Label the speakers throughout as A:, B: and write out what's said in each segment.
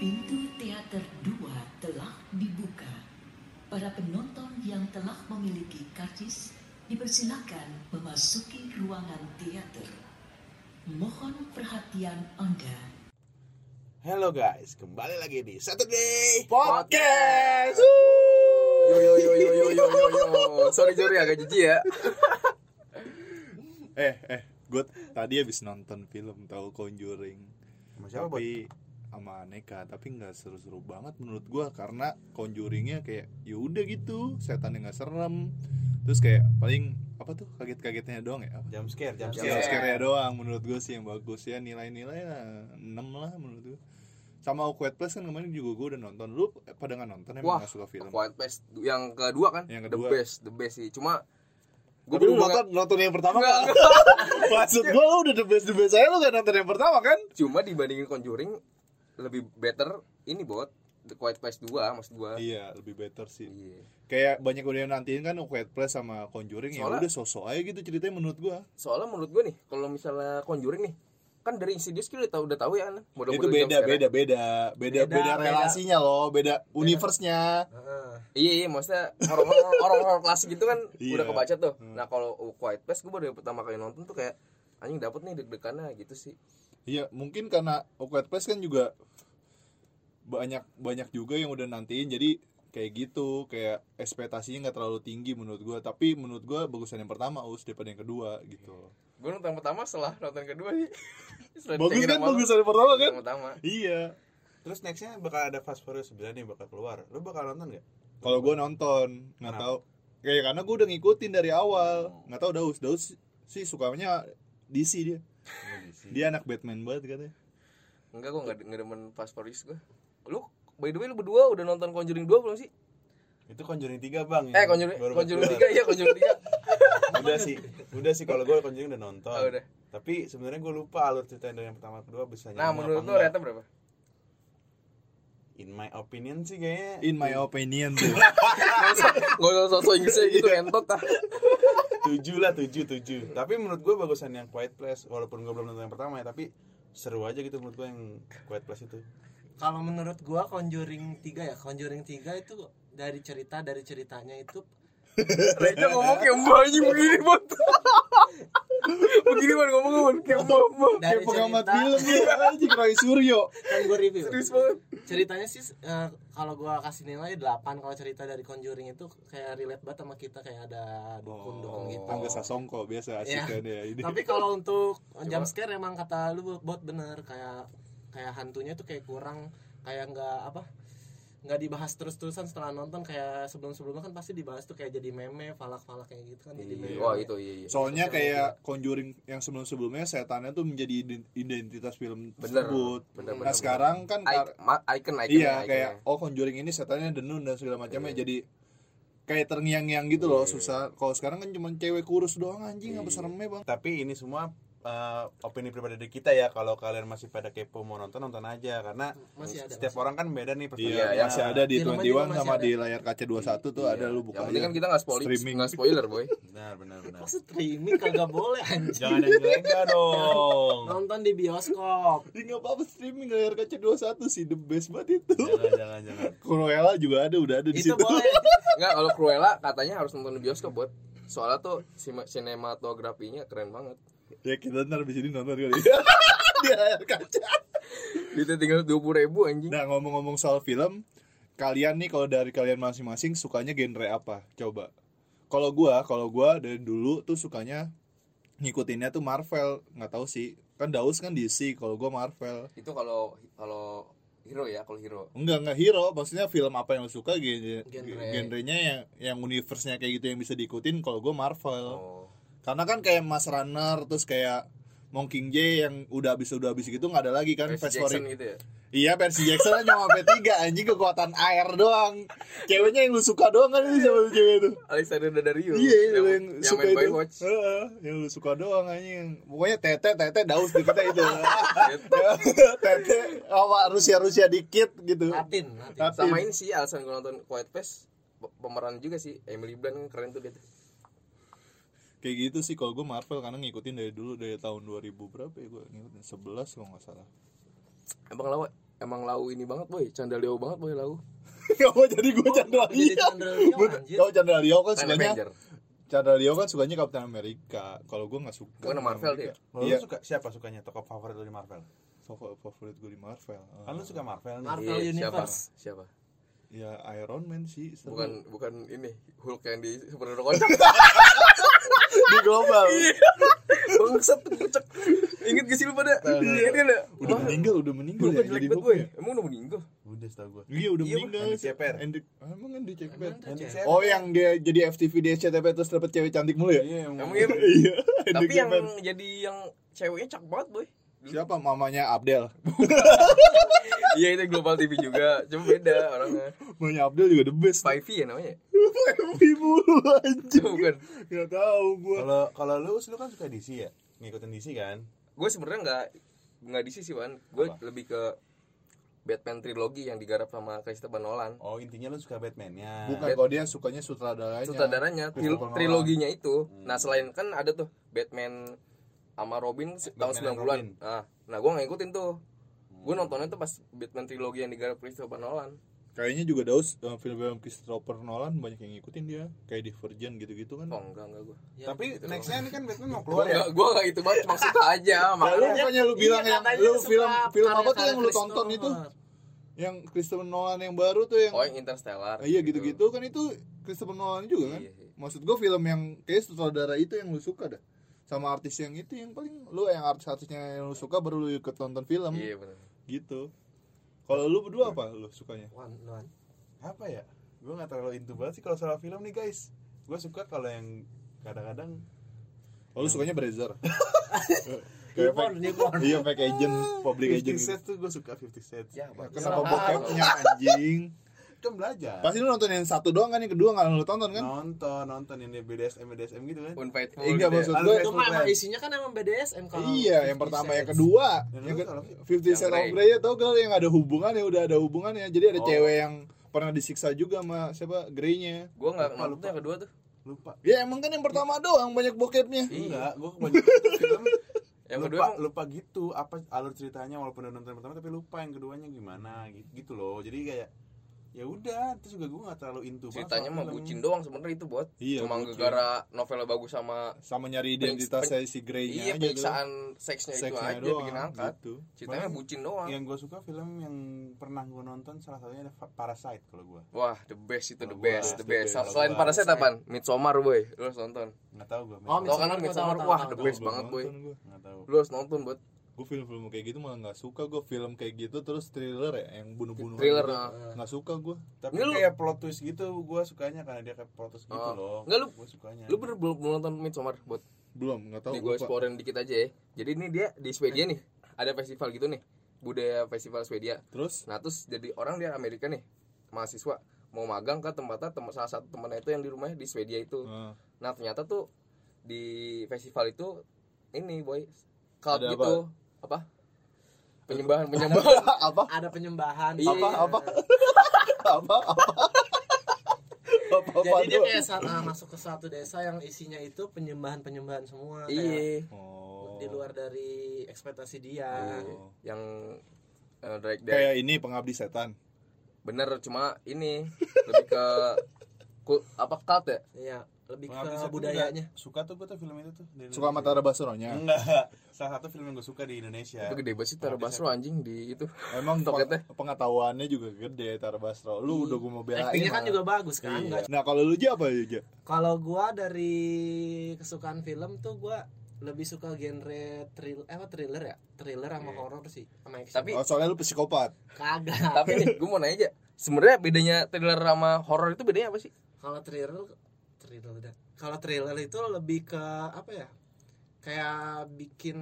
A: Pintu teater 2 telah dibuka. Para penonton yang telah memiliki karcis dipersilakan memasuki ruangan teater. Mohon perhatian Anda.
B: Hello guys, kembali lagi di Saturday
C: Podcast.
B: Wuh.
C: Yo yo yo yo yo yo yo yo. Sorry sorry agak jijik ya.
D: eh eh gue tadi habis nonton film tahu Conjuring
B: Sama siapa, Bot?
D: tapi sama aneka tapi nggak seru-seru banget menurut gue karena Conjuringnya kayak ya udah gitu setan nggak serem terus kayak paling apa tuh kaget-kagetnya doang ya apa
B: Jam scare, jam
C: Jump
D: jump
B: scare.
D: scare-nya doang menurut gue sih yang bagus ya nilai-nilai 6 lah menurut gue sama Awkward Place kan kemarin juga gue udah nonton lu pada nggak nonton emang
C: Wah,
D: nggak suka film
C: Quiet Place yang kedua kan?
D: Yang
C: The
D: kedua.
C: best, the best sih. Cuma gue
B: Tapi lu
C: belum
B: nonton, nonton yang pertama kan?
C: Enggak,
B: Maksud gue lu udah the best the best aja lu gak nonton yang pertama kan?
C: Cuma dibandingin Conjuring lebih better ini bot The Quiet Place 2 maksud gua.
D: iya lebih better sih
C: Iya.
D: kayak banyak udah yang nantiin kan Quiet Place sama Conjuring ya
C: Soalnya-
D: udah sosok aja gitu ceritanya menurut gua
C: Soalnya menurut gua nih, kalau misalnya Conjuring nih, kan dari Insidious kita udah tahu udah tahu ya kan. Model
D: itu beda beda beda beda
B: Beda,
D: beda
B: beda.
D: relasinya loh beda universe-nya
C: Iya iya, maksudnya horor-horor horor-horor klasik gitu kan
D: Iya.
C: udah kebaca tuh. Nah, kalau Quiet Place gua baru yang pertama kali nonton tuh kayak anjing dapet nih deg-degannya gitu sih.
D: iya mungkin karena A Quiet Place kan juga banyak banyak juga yang udah nantiin jadi kayak gitu kayak ekspektasinya nggak terlalu tinggi menurut gua tapi menurut gua bagusan yang pertama us daripada yang kedua gitu
C: Gue nonton pertama setelah nonton kedua sih. Setelah
D: bagus
C: dicengin
D: kan
C: sama lu.
D: bagusan yang pertama kan
C: Nonton pertama.
D: iya
B: Terus nextnya bakal ada Fast Furious 9 nih bakal keluar. Lu bakal nonton gak?
D: kalau gua nonton nggak
B: Kenapa?
D: tahu kayak karena gua udah ngikutin dari awal
C: Oh.
D: nggak tahu Daus Daus sih sukanya DC dia
C: Hmm.
D: dia anak Batman banget katanya
C: Enggak gue enggak demen Fast Furious gue. Lu by the way lu berdua udah nonton Conjuring 2 belum sih?
B: Itu Conjuring 3 bang
C: Eh Conjuring Conjuring 3 iya Conjuring
B: 3
C: 3.
B: Udah sih, udah sih kalau gue Conjuring udah nonton
C: Oh, udah.
B: Tapi sebenarnya gue lupa alur cerita yang dari yang pertama ke kedua bisa
C: Nah,
B: nyambung apa
C: menurut lu
B: enggak.
C: rata berapa?
B: In my opinion sih kayaknya
D: in my opinion tuh
C: Enggak usah sosok Inggrisnya gitu entot ah.
B: tujuh lah tujuh tujuh tapi menurut gue bagusan yang Quiet Place walaupun gue belum nonton yang pertama ya tapi seru aja gitu menurut gue yang Quiet Place itu
E: kalau menurut gua Conjuring 3 ya Conjuring 3 itu dari cerita dari ceritanya itu
C: Reja ngomong kayak mbak anjing begini banget. begini banget ngomong ngomong kayak mbak mbak.
E: dari
D: kayak pengamat
E: cerita
D: film nih anjing Roy Suryo
E: kan gua review
C: Serius banget.
E: ceritanya sih eh, kalau gua kasih nilai 8 kalau cerita dari Conjuring itu kayak relate banget sama kita kayak ada dukun dukun
C: Oh,
E: gitu
D: Tangga Sasongko biasa asik
E: Iya.
D: kan ya ini
E: tapi kalau untuk jump scare emang kata lu bot bener kayak kayak hantunya tuh kayak kurang kayak nggak apa nggak dibahas terus-terusan setelah nonton kayak sebelum-sebelumnya kan pasti dibahas tuh kayak jadi meme falak-falak kayak gitu kan jadi meme
C: Wah, itu iya iya.
D: soalnya kayak Conjuring yang sebelum-sebelumnya setannya tuh menjadi ident- identitas film
C: Bener,
D: tersebut
C: bener,
D: nah
C: bener,
D: sekarang kan kar-
C: Icon, icon, ya.
D: iya kayak oh Conjuring ini setannya denun dan segala macamnya jadi kayak terngiang-ngiang gitu loh susah kalau sekarang kan cuma cewek kurus doang anjing apa seremnya bang
B: tapi ini semua eh, opini pribadi dari kita ya kalau kalian masih pada kepo mau nonton nonton aja karena
E: Masih ada,
B: setiap orang kan beda nih
D: Iya,
B: perspektifnya.
D: masih ada di
E: Di rumah
D: 21
E: juga masih
D: sama
E: ada.
D: di layar kaca 21 tuh ada lu buka
C: Yang penting
D: aja.
C: kan kita nggak spoiler,
D: Streaming.
C: nggak spoiler boy.
B: benar benar benar
E: Masa streaming kagak boleh anjing
B: jangan yang jelek dong
E: Nonton di bioskop
D: Ih, nggak apa-apa streaming layar kaca 21 sih the best banget itu.
B: jangan jangan jangan
D: Cruella juga ada, udah ada di
E: Itu
D: situ.
E: boleh
C: Enggak, kalau Cruella katanya harus nonton di bioskop buat soalnya tuh sima- sinematografinya keren banget.
D: ya kita ntar di sini nonton kali. di layar kaca.
C: Duitnya tinggal dua puluh ribu anjing.
D: Nah ngomong-ngomong soal film, kalian nih kalau dari kalian masing-masing sukanya genre apa? Coba. Kalau gua, kalau gua dari dulu tuh sukanya ngikutinnya tuh Marvel, nggak tahu sih. Kan Daus kan DC, kalau gua Marvel.
C: Itu kalau kalau hero ya, kalau hero.
D: Enggak, enggak hero, maksudnya film apa yang lu suka genre,
E: Genre.
D: genrenya yang yang universe-nya kayak gitu yang bisa diikutin kalau gua Marvel.
C: Oh.
D: Karena kan kayak Mas Runner terus kayak Mongking J yang udah habis udah habis gitu nggak ada lagi kan
C: Percy
D: fast
C: Jackson
D: forward.
C: gitu ya
D: Iya versi Jackson aja sama P3 anjing kekuatan air doang. Ceweknya yang lu suka doang kan itu sama cewek itu.
C: Alexander Daddario
D: Iya yang, yang,
C: yang
D: suka
C: main
D: itu.
C: Baywatch
D: Heeh, yang lu suka doang anjing. Pokoknya tete tete daus di kita itu. tete awak Rusia Rusia dikit gitu.
E: Latin, Latin.
D: Latin.
C: samain sih alasan gue nonton Quiet Place pe- pemeran juga sih Emily Blunt kan keren tuh dia tuh.
D: Kayak gitu sih kalau gue Marvel karena ngikutin dari dulu dari tahun 2000 berapa ya gue ngikutin 11 kalau nggak salah.
C: emang lau emang lau ini banget boy candaleo banget boy lau
D: Kenapa jadi gue Chandra
E: jadi
D: Leo?
E: Chandra Leo,
D: Bener.
E: anjir.
D: Kalau Chandra Leo kan
C: Kan
D: sukanya
C: Avenger
D: Chandra Leo kan sukanya Captain America. Kalau gue nggak suka.
C: Bukan
D: Captain
C: Marvel
D: America.
C: dia.
B: Kalau
D: Iya.
B: lu suka siapa sukanya tokoh favorit lu di Marvel?
D: Favor- Favorit gue di Marvel. Eh,
B: Kan lu suka Marvel nih.
E: Marvel.
C: Iya, siapa
E: Universe.
C: siapa
D: Ya Iron Man sih. seru.
C: bukan bukan ini Hulk yang di superhero kocak
D: di global.
C: Iya. bangsat kocak inget gak sih lu pada
D: Tahu, tahu,
C: iya
D: tahu.
C: dia udah
D: Udah meninggal, udah meninggal
C: Gue
D: ya.
C: jelek
D: Jadi
C: banget
D: Hulk
C: boy
D: ya.
C: Emang udah meninggal
B: Udah setahu gua.
D: Iya udah
C: Iya,
D: meninggal.
B: Andy Ceper.
D: Andy- Ah, Emang Andy Ceper.
E: Emang
B: Andy
E: Andy
B: Ceper.
D: Oh yang dia jadi FTV di SCTV terus dapet cewek cantik mulu ya?
B: Iya, yang
C: Emang iya
D: Iya. Andy
C: Tapi yang
D: Ceper.
C: jadi yang ceweknya cak banget boy
D: siapa mamanya Abdel?
C: Iya itu Global TV juga Cuma beda orangnya
D: Mamanya Abdel juga the best.
C: Spivey ya namanya
D: FTV mulu anjir.
C: Cuma bukan
D: Gak tahu gua.
B: Kalau kalau lu lu kan suka DC ya? Ngikutin DC kan?
C: Gue sebenarnya nggak nggak di sisi wan Gue
B: Apa?
C: lebih ke Batman trilogi yang digarap sama Christopher Nolan
B: Oh, intinya lu suka Batman-nya.
D: Bukan kalau dia sukanya sutradaranya.
C: Sutradaranya tri-
B: Christopher Nolan.
C: triloginya itu Nah selain kan ada tuh Batman sama Robin se- tahun
B: Batman and
C: 90-an Nah, nah gue ngikutin tuh Gue nontonnya tuh pas Batman trilogi yang digarap Christopher Nolan
D: Kayaknya juga Daus eh, film-film Christopher Nolan banyak yang ngikutin dia. Kayak Divergent gitu-gitu kan.
C: Oh enggak enggak gue
E: Iya,
B: Tapi
E: gitu
B: next-nya ini kan Batman mau
C: Gue
B: keluar ya?
C: gua nggak itu banget cuma suka aja
D: Nah, lu
C: makanya
D: makanya lu bilang
E: Iya,
D: yang
E: katanya
D: lu
E: suka
D: film film apa tuh
E: karya-karya
D: yang lu tonton itu?
E: Christopher.
D: Yang Christopher Nolan yang baru tuh yang
C: Oh yang Interstellar gitu.
D: Ah, iya gitu-gitu kan itu Christopher Nolan juga kan.
C: Iya, iya.
D: Maksud gua film yang kayak sutradara itu yang lu suka dah. Sama artis yang itu yang paling lu yang artis-artisnya yang lu suka baru lu ikut nonton film
C: Iya benar.
D: gitu. Kalau lu berdua apa lu sukanya?
E: Wan, Wan.
B: Apa ya? Gua nggak terlalu into banget sih kalau soal film nih, guys. Gua suka kalau yang kadang-kadang
D: Oh, lu sukanya Brazzer. Kayak
E: Newborn, newborn.
D: fake- iya fake agent, public
B: 50
D: agent. gitu.
B: Cent tuh gua suka 50 Cent.
C: Ya,
D: Nah,
C: Bang.
D: Kenapa
E: Ya.
D: bokepnya
C: ah.
D: anjing?
B: Kan belajar.
D: Pasti lu nonton yang satu doang kan, yang kedua nggak lu tonton kan? Oh,
B: Nonton, nonton yang di BDSM BDSM gitu kan.
C: Unfaithful.
D: Enggak
C: gitu ya.
D: maksud
B: Aduh,
D: gue
B: Best
E: Itu
B: of
E: mah emang
B: Friends.
E: isinya kan emang BDSM kalau ya.
D: Iya, yang
E: 50
D: pertama, yang
E: cents.
D: kedua.
B: Yang
D: Yang
B: Ya, lu
D: ke-
B: kalau-
D: 50 Cent
C: yang
D: of
C: Grey.
D: Grey ya tau gak yang ada hubungan ya udah ada hubungannya. Jadi ada
B: Oh.
D: cewek yang pernah disiksa juga sama siapa Grey-nya.
C: Gua enggak
B: Lupa,
C: nonton
B: lupa.
C: yang kedua tuh.
B: Lupa.
D: Ya emang kan yang pertama doang banyak bokepnya.
B: Enggak, gua kebanyakan film
C: Iya. Yang
B: lupa,
C: kedua emang-
B: lupa gitu apa alur ceritanya walaupun udah nonton yang pertama tapi lupa yang keduanya gimana gitu, gitu loh jadi kayak ya udah terus juga gue nggak terlalu into banget sama
C: Ceritanya mah
B: film.
C: bucin doang sebenarnya itu buat.
D: Iya,
C: Cuma
D: bucin.
C: gara novelnya bagus sama
D: Sama nyari
C: Penyik-
D: identitasnya si
C: iya
D: Grey-nya aja gitu. doang.
C: penyiksaan seksnya itu aja bikin angkat.
D: gitu.
C: Ceritanya
B: Makanya-
C: bucin doang.
B: yang gue suka film yang pernah gue nonton salah satunya ada Fa- Parasite kalau gue
C: Wah, the best itu the
B: Kalau
C: best,
B: gua,
C: the
B: the
C: best.
B: best.
C: Selain
B: Kalau gua.
C: Parasite apaan? Midsommar, boy. Lu harus nonton.
B: nggak tahu gue
E: Oh,
C: Tau kan
E: Midsommar,
C: lu
E: gua
C: Midsommar,
E: tahu,
C: wah
E: tahu,
C: the
E: tahu.
C: best banget, boy.
B: nggak tahu
C: Lu harus nonton buat
D: Gue film-film kayak gitu malah nggak suka gue film kayak gitu terus thriller ya yang bunuh-bunuh
C: thriller. ah.
D: nggak suka gue
B: tapi
C: Ini lu-
B: kayak plot twist gitu gue sukanya karena dia kayak plot twist gitu
C: Oh.
B: loh
C: Nggak, lu-
B: gue sukanya
C: Lu bener belum belum nonton Midsommar buat
D: belum nggak tahu
C: Nih gue
D: lupa.
C: spoilerin dikit aja ya. Jadi ini dia di Swedia nih, ada festival gitu nih. Budaya festival Swedia.
D: terus
C: Nah terus jadi orang di Amerika nih mahasiswa mau magang ke tempatnya tem- salah satu temennya itu yang di rumahnya di Swedia itu.
D: nah,
C: Nah ternyata tuh di festival itu ini boy cult
D: Ada
C: gitu apa? penyembahan penyembahan
D: apa
E: Ada penyembahan.
C: Iya.
D: apa apa apa apa apa apa
E: Jadi dia
D: doang?
E: kayak saat, ah, masuk ke suatu desa yang isinya itu penyembahan-penyembahan semua. kayak
C: iya
D: oh.
E: Di luar dari ekspektasi dia.
D: Oh.
C: yang eh, direct dari
D: kayak ini pengabdi setan
C: bener cuma ini lebih ke ku- apa cult ya
E: Iya, lebih
B: Pengabdi
E: ke
B: Setan
E: budayanya.
B: juga suka tuh gue tuh film itu tuh dari Indonesia.
D: suka ya? matahari basronya
B: enggak salah satu film yang gue suka di Indonesia
D: Ya.
C: itu gede banget sih
D: Nah,
C: Tara Basro anjing di itu
D: emang peng-
C: Toketnya.
D: pengetahuannya juga gede Tara Basro lu udah gue mau belain
E: Hmm. Actingnya kan
D: malah.
E: juga bagus kan.
D: Iya.
E: nggak-
D: nah kalau lu aja apa aja
E: Kalau gua dari kesukaan film tuh gua lebih suka genre thriller, eh, apa thriller ya? Thriller sama horor sih, sama
C: Iya.
E: action.
C: tapi
D: oh, soalnya lu psikopat
E: kagak.
C: tapi nih gue mau nanya aja sebenarnya bedanya thriller sama horor itu bedanya apa sih
E: kalau thriller thriller dah. kalau thriller itu lebih ke apa ya kayak bikin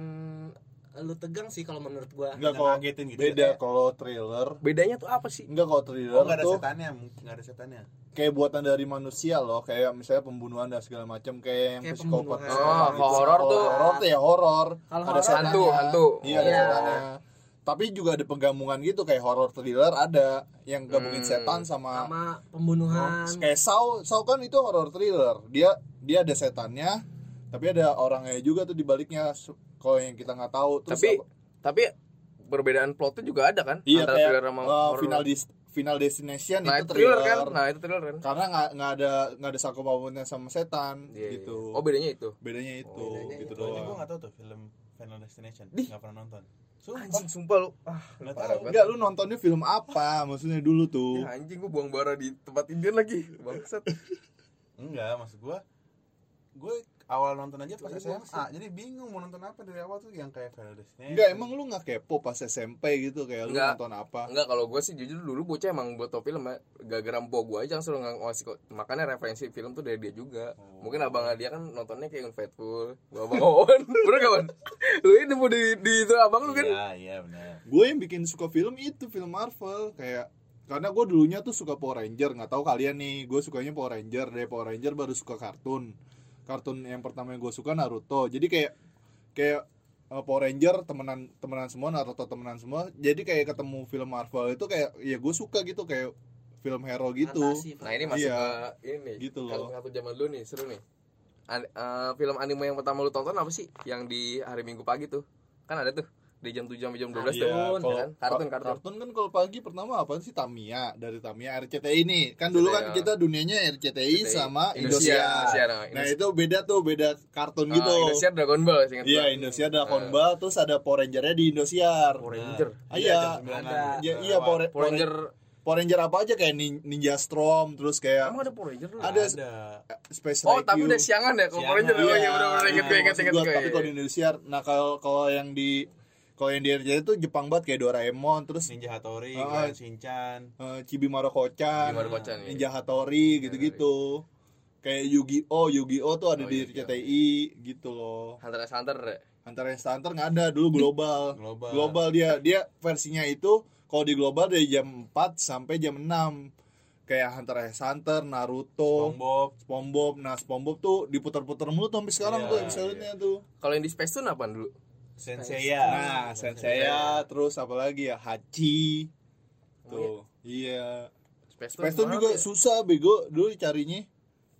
E: lu tegang sih kalau menurut
C: Iya.
E: gua
D: Enggak
B: Nggak
D: kalau
B: ngagetin gitu
D: beda
B: ya?
D: kalau thriller.
C: bedanya tuh apa sih
D: Enggak kalau
B: Oh,
D: thriller
B: nggak ada
D: tuh
B: setannya, mungkin nggak ada setannya.
D: kayak buatan dari manusia loh, kayak misalnya pembunuhan dan segala macam kayak yang
E: Kayak
D: psikopat.
E: pembunuhan.
D: segala
C: Oh, kalau horor
D: Kalau
C: tuh-
D: horor tuh ya horor.
E: Kalau
D: Ada
E: horor-
D: setannya.
C: Hantu, hantu.
D: Iya, ada
E: Iya.
D: setannya. Tapi juga ada penggabungan gitu kayak horor thriller ada yang gabungin
C: Hmm.
D: setan sama
E: sama pembunuhan
D: Oh, kayak Saw, Saw kan itu horror thriller. Dia dia ada setannya, tapi ada orangnya juga tuh di baliknya Su- kalau yang kita nggak tahu. Terus
C: tapi
D: apa-
C: tapi perbedaan plotnya juga ada kan
D: iya
C: antara
D: kayak
C: thriller sama
D: eh,
C: horror.
D: final Dis- final destination
C: nah
D: itu
C: itu
D: thriller,
C: thriller kan nah itu thriller kan
D: karena nggak nggak ada nggak ada saku pautnya sama setan
C: Iya,
D: gitu.
C: iya. oh bedanya itu
D: bedanya itu
C: bedanya
D: gitu
B: Itu aja gue
D: doang.
B: nggak tahu tuh film Final Destination,
C: Dih.
B: nggak pernah nonton. Sumpah,
C: anjing sumpah lu ah
B: nggak
C: parah
B: tahu.
C: banget.
D: Enggak lu nontonnya film apa? Maksudnya dulu tuh.
C: Ya, anjing gua buang bara di tempat Indian lagi bangsat
B: Enggak, maksud gue gue awal nonton aja pas
C: Itu
B: SMA
C: aja bosen.
B: jadi bingung mau nonton apa dari awal tuh yang kayak Final Destination
D: Enggak emang lu nggak kepo pas SMP gitu kayak lu
C: Iya, Nggak.
D: nonton apa?
C: Enggak kalau gue sih jujur dulu bocah emang buat tau film ya. gara-gara mpok gue aja yang selalu ngasih kok makanya referensi film tuh dari dia juga mungkin
D: Oh.
C: abang dia kan nontonnya kayak Unfaithful gua abang Oon bener gak Wan? lu ini mau di, di itu abang lu kan
B: iya iya benar
D: gue yang bikin suka film itu film Marvel kayak karena gue dulunya tuh suka Power Ranger nggak tahu kalian nih gue sukanya Power Ranger dari Power Ranger baru suka kartun kartun yang pertama yang gue suka Naruto jadi kayak kayak eh, Power Ranger temenan temenan semua Naruto temenan semua jadi kayak ketemu film Marvel itu kayak ya gue suka gitu kayak film hero gitu
E: fantasi,
C: nah ini masih
D: Iya.
C: ke ini nih
D: Gitu loh.
C: kalau satu zaman dulu nih seru nih An- eh, film anime yang pertama lu tonton apa sih yang di hari minggu pagi tuh kan ada tuh di jam 7 sampai jam 12
D: Iya,
C: tuh ya kan
D: kalau-
C: kartun
D: ka-
C: kartun
D: kartun kan kalau pagi pertama apa sih Tamiya dari Tamiya RCTI ini kan dulu kan
C: RCTI.
D: kita dunianya RCTI, sama Indosiar.
C: Indosiar nah,
D: Nah
C: Indonesia.
D: itu beda tuh, beda kartun
C: Ah,
D: gitu.
C: Indosiar ya, Ah. Dragon Ball seingat
D: Iya
C: gua.
D: Indosiar Dragon Ball, terus ada Power Ranger-nya di Indosiar.
C: Power Ranger
D: Ah, iya.
E: Ada.
D: Ya, iya Power,
C: Power Ranger
D: Power Ranger apa aja kayak nin- Ninja Storm, terus kayak
C: emang ada Power Ranger dulu?
B: ada
D: ada, Space
C: Oh,
D: Rescue.
C: tapi udah siangan ya
B: Siangan.
C: kalau Power Ranger
B: Iya,
C: oh, iya udah udah inget
D: Nah,
C: gue inget
D: maksud
C: inget
D: gua,
C: gue.
D: Tapi kalau di Indosiar, nah kalau kalau yang di kalau yang di RCTI itu Jepang banget kayak Doraemon, terus
B: Ninja Hattori
D: Ah,
B: Grand Shinchan
D: eh, Chibi Maruko-chan,
C: Gimana bacaan nih?
D: Ninja Hattori gitu-gitu. Kayak Yu-Gi-Oh, Yu-Gi-Oh tuh
C: Oh,
D: ada di
C: Yu-Gi-Oh.
D: RCTI gitu loh.
C: Hunter x Hunter ya?
D: Hunter x Hunter nggak ada dulu global.
B: global
D: global dia dia versinya itu kalau di global dari jam 4 sampai jam 6 kayak Hunter x Hunter, Naruto,
B: SpongeBob
D: SpongeBob. Nah, SpongeBob tuh diputar-putar mulu tuh sampai sekarang
B: Iya,
D: tuh episodenya tuh.
C: Kalau yang di Space Tune apaan dulu?
B: Sensei ya
D: Nah, Sensei
B: Iya.
D: terus apa lagi ya? Hachi. Tuh. Iya.
C: Space Tune,
D: Space Tune
C: mana
D: juga
C: tuh ya?
D: susah bego dulu carinya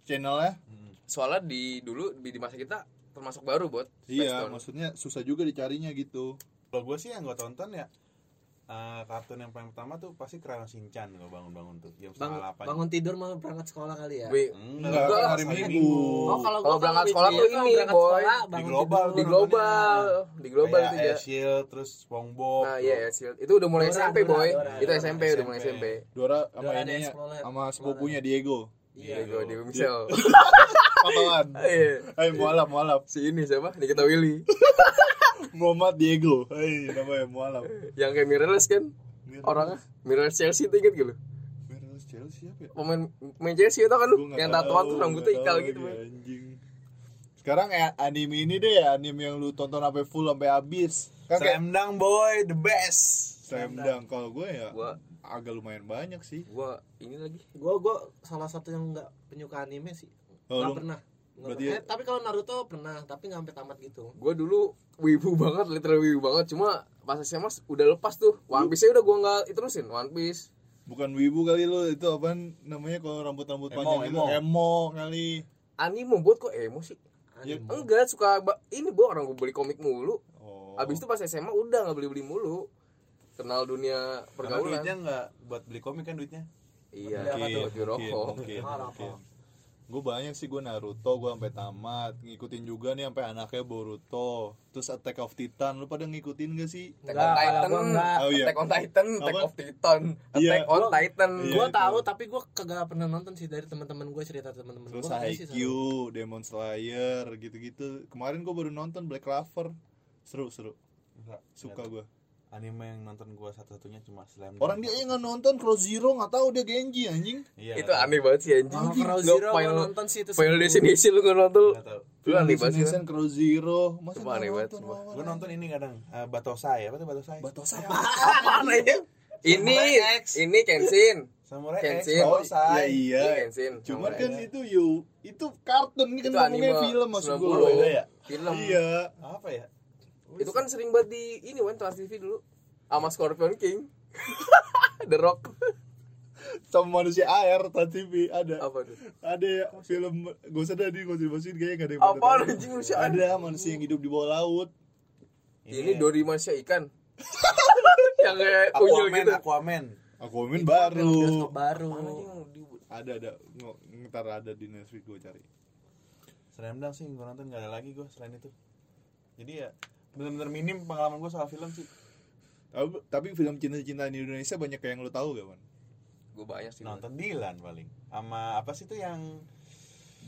D: channelnya.
B: Hmm.
C: Soalnya di dulu di, di masa kita termasuk baru buat Space
D: Iya,
C: Tune.
D: maksudnya susah juga dicarinya gitu.
B: kalau gue sih yang gue tonton ya eh, kartun yang paling pertama tuh pasti Crayon Shinchan gue bangun-bangun tuh jam
E: Bang-
B: setengah delapan
E: bangun tidur mau berangkat sekolah kali ya
C: Wih,
D: Hmm.
B: enggak
C: Enggak,
B: kan
D: hari
B: hari
D: Minggu.
B: minggu
E: oh kalau
C: Kalau
E: gua
C: berangkat
E: kan
C: sekolah tuh
E: kalau
C: ini,
E: berangkat
C: boy.
E: sekolah,
B: Di
E: bangun
B: global,
E: tidur.
C: di global, di global
D: Oh, iya,
C: itu
B: kayak
C: ya.
B: Air Shield terus SpongeBob
C: Nah,
B: tuh.
C: iya, ya, Shield. Itu udah mulai
E: Dora,
C: SMP,
E: Dora,
C: boy.
E: Dora,
C: itu
E: Dora,
C: SMP, udah mulai
B: SMP.
C: SMP.
D: Dora sama
E: Dora ada
D: ininya
E: Explorer.
D: sama sepupunya Diego.
E: Iya.
C: Diego,
B: Diego.
C: Diego Michel.
D: Apaan?
C: Iya.
D: Eh, mualaf, mualaf.
C: Si ini siapa? Nikita Willy.
D: Muhammad Diego. Hei, namanya mualaf.
C: yang kayak Mirrorless kan? Orangnya Mirrorless Chelsea itu inget gak lu?
D: Mirrorless Chelsea siapa ya?
C: Pemain main Chelsea itu kan lu
D: Gua nggak
C: yang
D: tahu,
C: tatoan tuh
D: nggak
C: rambutnya
D: tahu
C: ikal
D: lagi,
C: gitu, boy.
D: Anjing. Sekarang eh, anime ini deh, anime yang lu tonton sampai full sampai habis. Kan kayak
B: Slam Dunk boy the best
D: Slam Dunk. kalau gue ya
C: Gua
D: agak lumayan banyak sih.
C: gua ini lagi
E: gua gua salah satu yang nggak penyuka anime sih
D: Oh,
E: nggak
D: lu-
E: pernah Nggak
D: berarti
E: pernah. Eh, tapi kalau Naruto pernah tapi nggak sampai tamat gitu
C: gua dulu wibu banget literal wibu banget cuma pas SMA udah lepas tuh One Piece nya udah gua nggak terusin One Piece
D: Bukan wibu kali lu, itu apaan namanya kalau rambut-rambut
B: Emo,
D: panjang itu?
B: emo.
D: Emo kali.
C: anime buat kok emosi
D: Ya,
C: enggak suka ba- ini bo orang gua beli komik mulu
D: oh.
C: abis itu pas SMA udah nggak beli beli mulu kenal dunia
B: karena duitnya
C: pergaulan
B: nggak buat beli komik kan duitnya
C: iya
E: Beli apa tuh?
C: baju rokok
E: Ah, rokok.
D: Gue banyak sih gue Naruto, gue sampai tamat, ngikutin juga nih sampai anaknya Boruto, terus Attack of Titan, lu pada ngikutin gak sih?
C: Attack on
E: Nggak, kalau
C: Titan,
E: gua nggak.
D: Oh, iya.
C: Attack on Titan, Attack
D: Apa?
C: of Titan,
D: Iya.
C: Attack on
E: Gua-
C: Titan.
D: Iya,
E: gua
D: itu.
E: tahu tapi gua kagak pernah nonton sih dari teman-teman gua cerita teman-teman
D: Terus
E: gua katanya sih seru.
D: Haikyuu, Demon Slayer, gitu-gitu. Kemarin gue baru nonton Black Clover, seru seru, suka gue.
B: anime yang nonton gua satu-satunya cuma Slam Dunk.
D: Orang dia yang nggak nonton Cross Zero nggak tahu dia Genji anjing.
B: Iya,
C: itu aneh banget sih anjing.
E: Kalau Crow
C: Nggak,
E: Zero
C: final,
E: gua nonton sih itu
C: final
E: seru.
C: destination lu nggak nonton.
B: Gak tau
C: Lu aneh banget sih.
D: Destination Cross Zero. Masa
C: Sumpah
D: nggak
C: aneh banget,
D: nonton
C: sumpah.
D: lawan
B: Gua
D: anjing?
B: nonton ini kadang eh, Batosai, apa tuh Batosai?
D: Batosai.
C: Apaan aja? Ini ini Kenshin.
B: Samurai X,
C: Kenshin.
D: Oh
B: Batosai.
D: iya iya.
C: Ini Kenshin.
D: Cuma
C: Sama
D: kan
C: aja.
D: itu you itu kartun ini kan
C: Itu
D: ngomongnya
C: anime.
D: film maksud
C: 90.
D: gua.
C: Oh, beda
D: ya?
C: film.
D: Iya.
B: Apa ya?
C: Itu kan sering banget di ini Wan Trans TV dulu. Sama Scorpion King. The Rock.
D: Sama manusia air Trans TV ada.
C: Apa tuh?
D: Ada ya film gak usah tadi gak usah dibahas kayaknya gak ada yang
C: Apa
D: pada tahu.
C: anjing manusia
D: Ada manusia yang hidup di bawah laut. Iya.
C: Ini Dori manusia ikan. Yang kayak unyil
B: Aquaman,
C: gitu.
B: Aquaman.
D: Aquaman
E: Film
D: baru.
E: bioskop baru.
C: Mana dia yang di-
D: Ada ada Ngo- ntar ada di Netflix gua cari.
B: Slam Dunk sih gua nonton gak ada lagi gua selain itu. Jadi ya bener-bener minim pengalaman gua soal film sih.
D: Tapi, tapi film cinta-cintaan di Indonesia banyak yang lu tahu gak, Man?
C: Gue banyak sih.
B: Nonton Dilan paling. Sama apa sih itu yang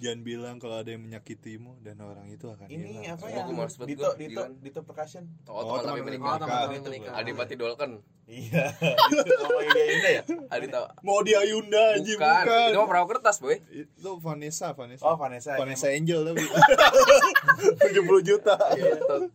D: Jangan bilang kalau ada yang menyakitimu dan orang itu akan
B: ini
D: hilang.
B: apa
C: Oh,
B: ya?
C: gua males banget
B: Dito
C: gua,
B: Dito
C: Dilan.
B: Dito Percussion.
C: Oh,
D: Oh,
C: teman tapi
D: teman
C: menikah.
E: Oh, teman-teman
B: Itu,
E: menikah.
B: Bang.
C: Adipati Dolken.
B: Iya. Itu sama Ida Ida ya.
C: Adita
D: Mau di Ayunda anjing
C: bukan. Ini mah perahu kertas, Boy.
D: Itu Vanessa, Vanessa.
B: Oh Vanessa.
D: Vanessa Angel tapi 70 juta.
B: Iya.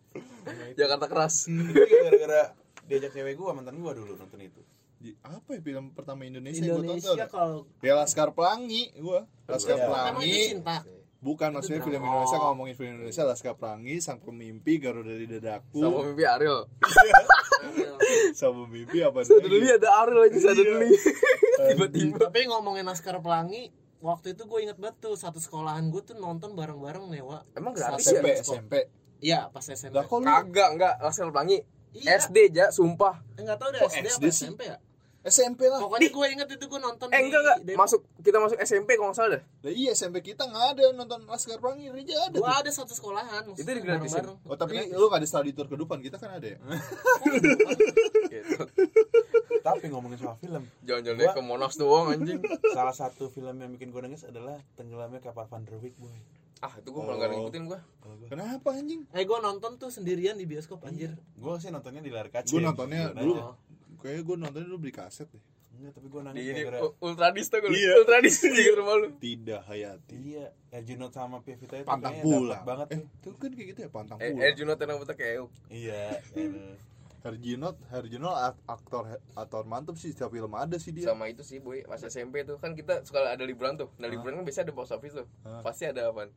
C: Jakarta keras.
B: Itu juga gara-gara diajak cewek gua mantan gua dulu nonton itu.
D: Di- apa ya film pertama Indonesia, yang gua
E: Indonesia
D: tonton?
E: kalau
D: Ya Laskar Pelangi gua. Laskar
B: Iya.
E: Emang itu
D: Pelangi.
E: cinta.
D: Bukan maksudnya film Indonesia kalau ngomongin film Indonesia Laskar Pelangi, Sang Pemimpi, Garuda di Dadaku,
C: Sama mimpi Ariel.
D: Sama Pemimpi apa Eh,
C: Suddenly ada Ariel lagi suddenly. Tiba-tiba.
E: Tapi ngomongin Laskar Pelangi, waktu itu gue inget banget tuh satu sekolahan gue tuh nonton bareng-bareng nyewa.
C: Emang gratis ya?
D: SMP,
E: Iya.
D: SMP.
E: Iya, pas SMP.
D: Lah kok lu
C: Kagak, enggak. Laskar Pelangi.
E: Iya.
C: SD aja, sumpah.
E: Enggak tahu deh
D: Kok SD
E: SD, apa
D: sih?
E: SMP ya.
D: SMP lah.
E: Pokoknya gue inget itu gue nonton
C: Eh, enggak, enggak. Masuk, kita masuk SMP kalau nggak salah dah.
D: Lah iya SMP kita nggak ada nonton Laskar Pelangi, Rija ada.
E: Gue ada satu sekolahan. maksudnya
C: Itu digratisin?
E: bareng-bareng.
D: Oh tapi
E: Gratis.
D: lu gak ada study tour ke depan kita kan ada ya?
C: Gitu.
B: Tapi ngomongin soal film,
C: Jangan-jangan dia ke Monas doang anjing.
B: salah satu film yang bikin gua nangis adalah tenggelamnya kapal Van der Wijk boy.
C: Ah, itu gue malah nggak ngikutin gue.
B: Kalau gua,
D: Kenapa anjing?
E: Eh gue nonton tuh sendirian di bioskop anjir.
B: gua sih nontonnya di layar kaca. ya.
D: Gue Iya. nontonnya
B: Jujur aja.
D: dulu
C: Oh.
D: Kayaknya gue nontonnya dulu beli kaset deh
B: Enggak, tapi gua
C: Di
B: nangis
C: ini
B: gara-gara
C: U- Ultradis tuh gue.
D: Kan Iya.
C: Ultradis di rumah lu.
D: Tidak Hayati
B: Iya, Erjunot sama Pevita itu
D: Pantang
B: kayaknya
D: pulang
B: dapat banget
D: Eh
B: tuh.
D: itu kan kayak gitu ya Pantang
C: Eh,
D: pulang
C: Erjuno tenang betul kayak.
B: Iya, aduh.
D: Herjunot Herjunot ak- aktor aktor mantep sih setiap film ada sih dia
C: sama itu sih boy pas SMP tuh kan kita suka ada liburan tuh nah liburan kan biasanya ada box office tuh
D: Hah?
C: pasti ada apa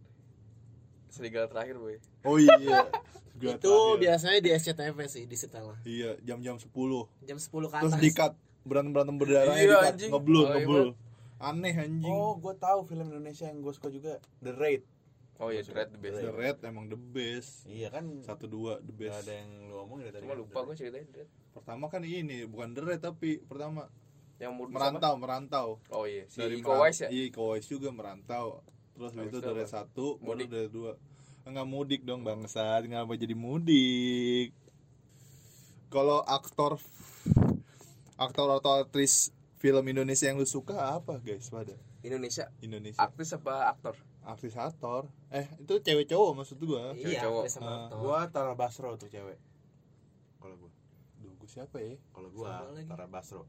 C: serigala terakhir boy
D: Oh iya Gua
E: itu
D: terakhir.
E: biasanya di SCTV sih di setelah
D: Iya jam-jam 10
E: jam 10 ke atas.
D: Terus dikat berantem-berantem berdarah
C: Iya,
D: dikat
C: anjing.
D: ngeblur
C: Oh, iya,
D: ngeblur Aneh anjing
B: Oh, gua tahu film Indonesia yang gua suka juga The Raid.
C: oh iya dread the best
D: The Red emang the best
B: Iya kan?
D: Satu dua the
B: Gak
D: best
B: ada yang lu omongin dari tadi.
C: cuma lupa gue ceritanya dread
D: Pertama kan ini bukan The Red tapi pertama
C: yang murid
D: Merantau merantau
C: siapa? oh iya si
D: dari
C: Iko
D: merantau-
C: Wise ya
D: Iya, Iko Wise juga merantau. Terus
C: Habis
D: itu
C: itu
D: dari
C: apa?
D: satu, baru
C: Mudik.
D: dari dua. Enggak mudik dong bangsat, ngapa jadi mudik? Kalau aktor aktor atau aktris film Indonesia yang lu suka apa guys pada
C: Indonesia
D: Indonesia?
C: aktris apa aktor
D: Aktris aktor. Eh, itu cewek cowok maksud gua.
C: Cewek
E: Iya,
C: cowok.
E: cowok. sama
D: Ah.
E: Anto.
B: Gua Tara Basro tuh cewek. Kalau gua,
D: Duh, gua siapa ya?
B: kalau gua
E: Sama lagi.
B: Tara Basro.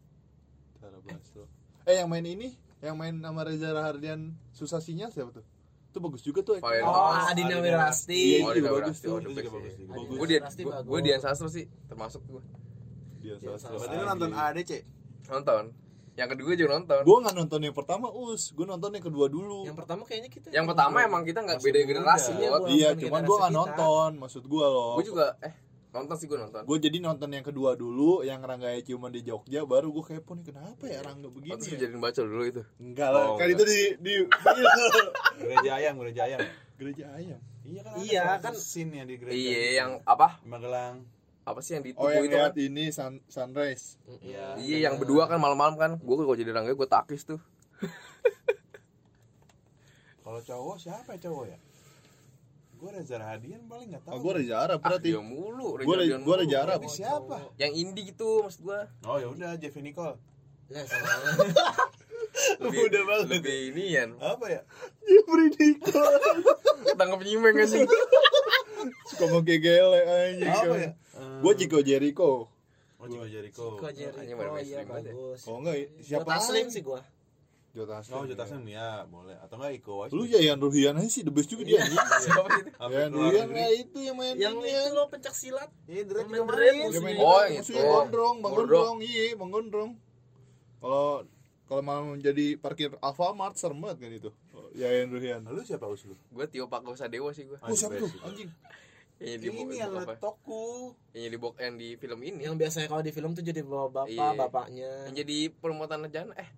D: Tara Basro. Eh, yang main ini, yang main sama Reza Rahardian susah sinyal siapa tuh? Itu bagus juga tuh. eh.
C: Violet
E: Oh,
C: Thomas.
E: Adina
B: Adina
E: Wirasti.
D: Iya,
C: oh
D: itu
C: di
D: juga
C: bagus
D: bagus tuh.
C: tuh
B: Itu juga bagus, juga
C: gue
B: bagus.
C: dia
E: Pasti bagus.
C: gue Dian Sastro sih termasuk gue
D: Dia Iya.
E: Dia
D: susah.
B: Berarti lu nonton ADC.
C: nonton yang kedua juga nonton
D: Gue nggak nonton yang pertama us, gue nonton yang kedua dulu.
E: Yang pertama kayaknya kita
C: yang pertama emang kita nggak
B: Masih
C: beda
B: muda.
C: generasi
E: Iya,
C: buat
E: gua-
D: iya,
E: nonton
D: cuman
E: generasi
D: gue nggak
E: kita.
D: nonton, maksud gue loh.
C: gue juga eh nonton sih gue nonton
D: Gue jadi nonton yang kedua dulu, yang Rangga ciuman di Jogja, baru gue kepo nih kenapa ya Rangga
C: Oh,
D: begini
C: terus
D: ya?
C: jadi baca dulu itu
D: Enggak lah,
B: Oh,
D: kan
B: enggak.
D: itu di di
B: Gereja Ayam, Gereja Ayam.
D: gereja ayam.
B: Iya kan?
E: Iya,
B: ada
E: kan-
B: scene yang di gereja.
C: iya yang apa
B: Di Magelang.
C: apa sih yang di
D: Oh
C: tubuh
D: yang
C: itu kan
D: lihat ini sun, sunrise.
B: Iya.
C: Iya yang berdua kan malam-malam kan Gue kalau jadi rangga gue takis tuh
B: Kalau cowok siapa ya cowok ya? Gua Reza Rahadian paling nggak tahu.
D: Oh gue Reza Arab berarti.
C: Ah, Dia mulu
D: Gue
C: Reza Ardian
D: gue
C: mulu.
D: Reza Arab.
B: Tapi siapa?
C: Yang indie gitu maksud gue
B: Oh ya udah Jeffy Nicole.
E: Lah, sama
C: Lebih,
D: Udah banget.
C: Lebih ini ya
B: Apa ya?
D: Jeffrey Nicole
C: Tangkap nyimeng kan sih
D: suka mau gele anjing.
B: Apa ya?
D: Gue Chico Jericho.
B: Oh, Chico Jericho.
E: Chico
C: Anjing
E: Jericho
C: baru
E: ya
C: mainstream banget ya.
E: bagus.
D: Kalau enggak Oh, siapa?
E: Jota Slim
D: lagi?
E: sih gua.
D: Jota Slim.
B: Oh, Jota Slim ya, boleh. Atau enggak Iko Uwais?
D: Lu Yayan Ruhian aja sih the best juga dia. anjing.
C: Siapa itu?
B: Hampir
D: Yayan
B: keluar
D: Ruhian
B: negeri.
D: ya itu yang main
E: Yang
D: ini
E: itu
D: ya.
E: lo pencak silat.
B: Iya, Drake
E: Main
B: juga
E: Drake
B: main.
D: Dia main
E: Oh,
D: oh,
C: itu.
D: maksudnya gondrong, bang
C: Gondrong.
D: gondrong, iya, bang gondrong. Kalau kalau malam jadi parkir Alfamart serem banget kan itu. Oh, Yayan Ruhian.
B: Lalu siapa us Nah, lu?
C: Gue Tio Paku Sadewa sih gue.
B: Oh, siapa tuh?
D: Anjing.
C: Yang di
B: Ini yang
C: apa?
B: toku.
C: Yang di box yang di film ini.
E: Yang biasanya kalau di film tuh jadi bapak
C: Iya.
E: bapaknya.
C: Yang jadi perempuan jana eh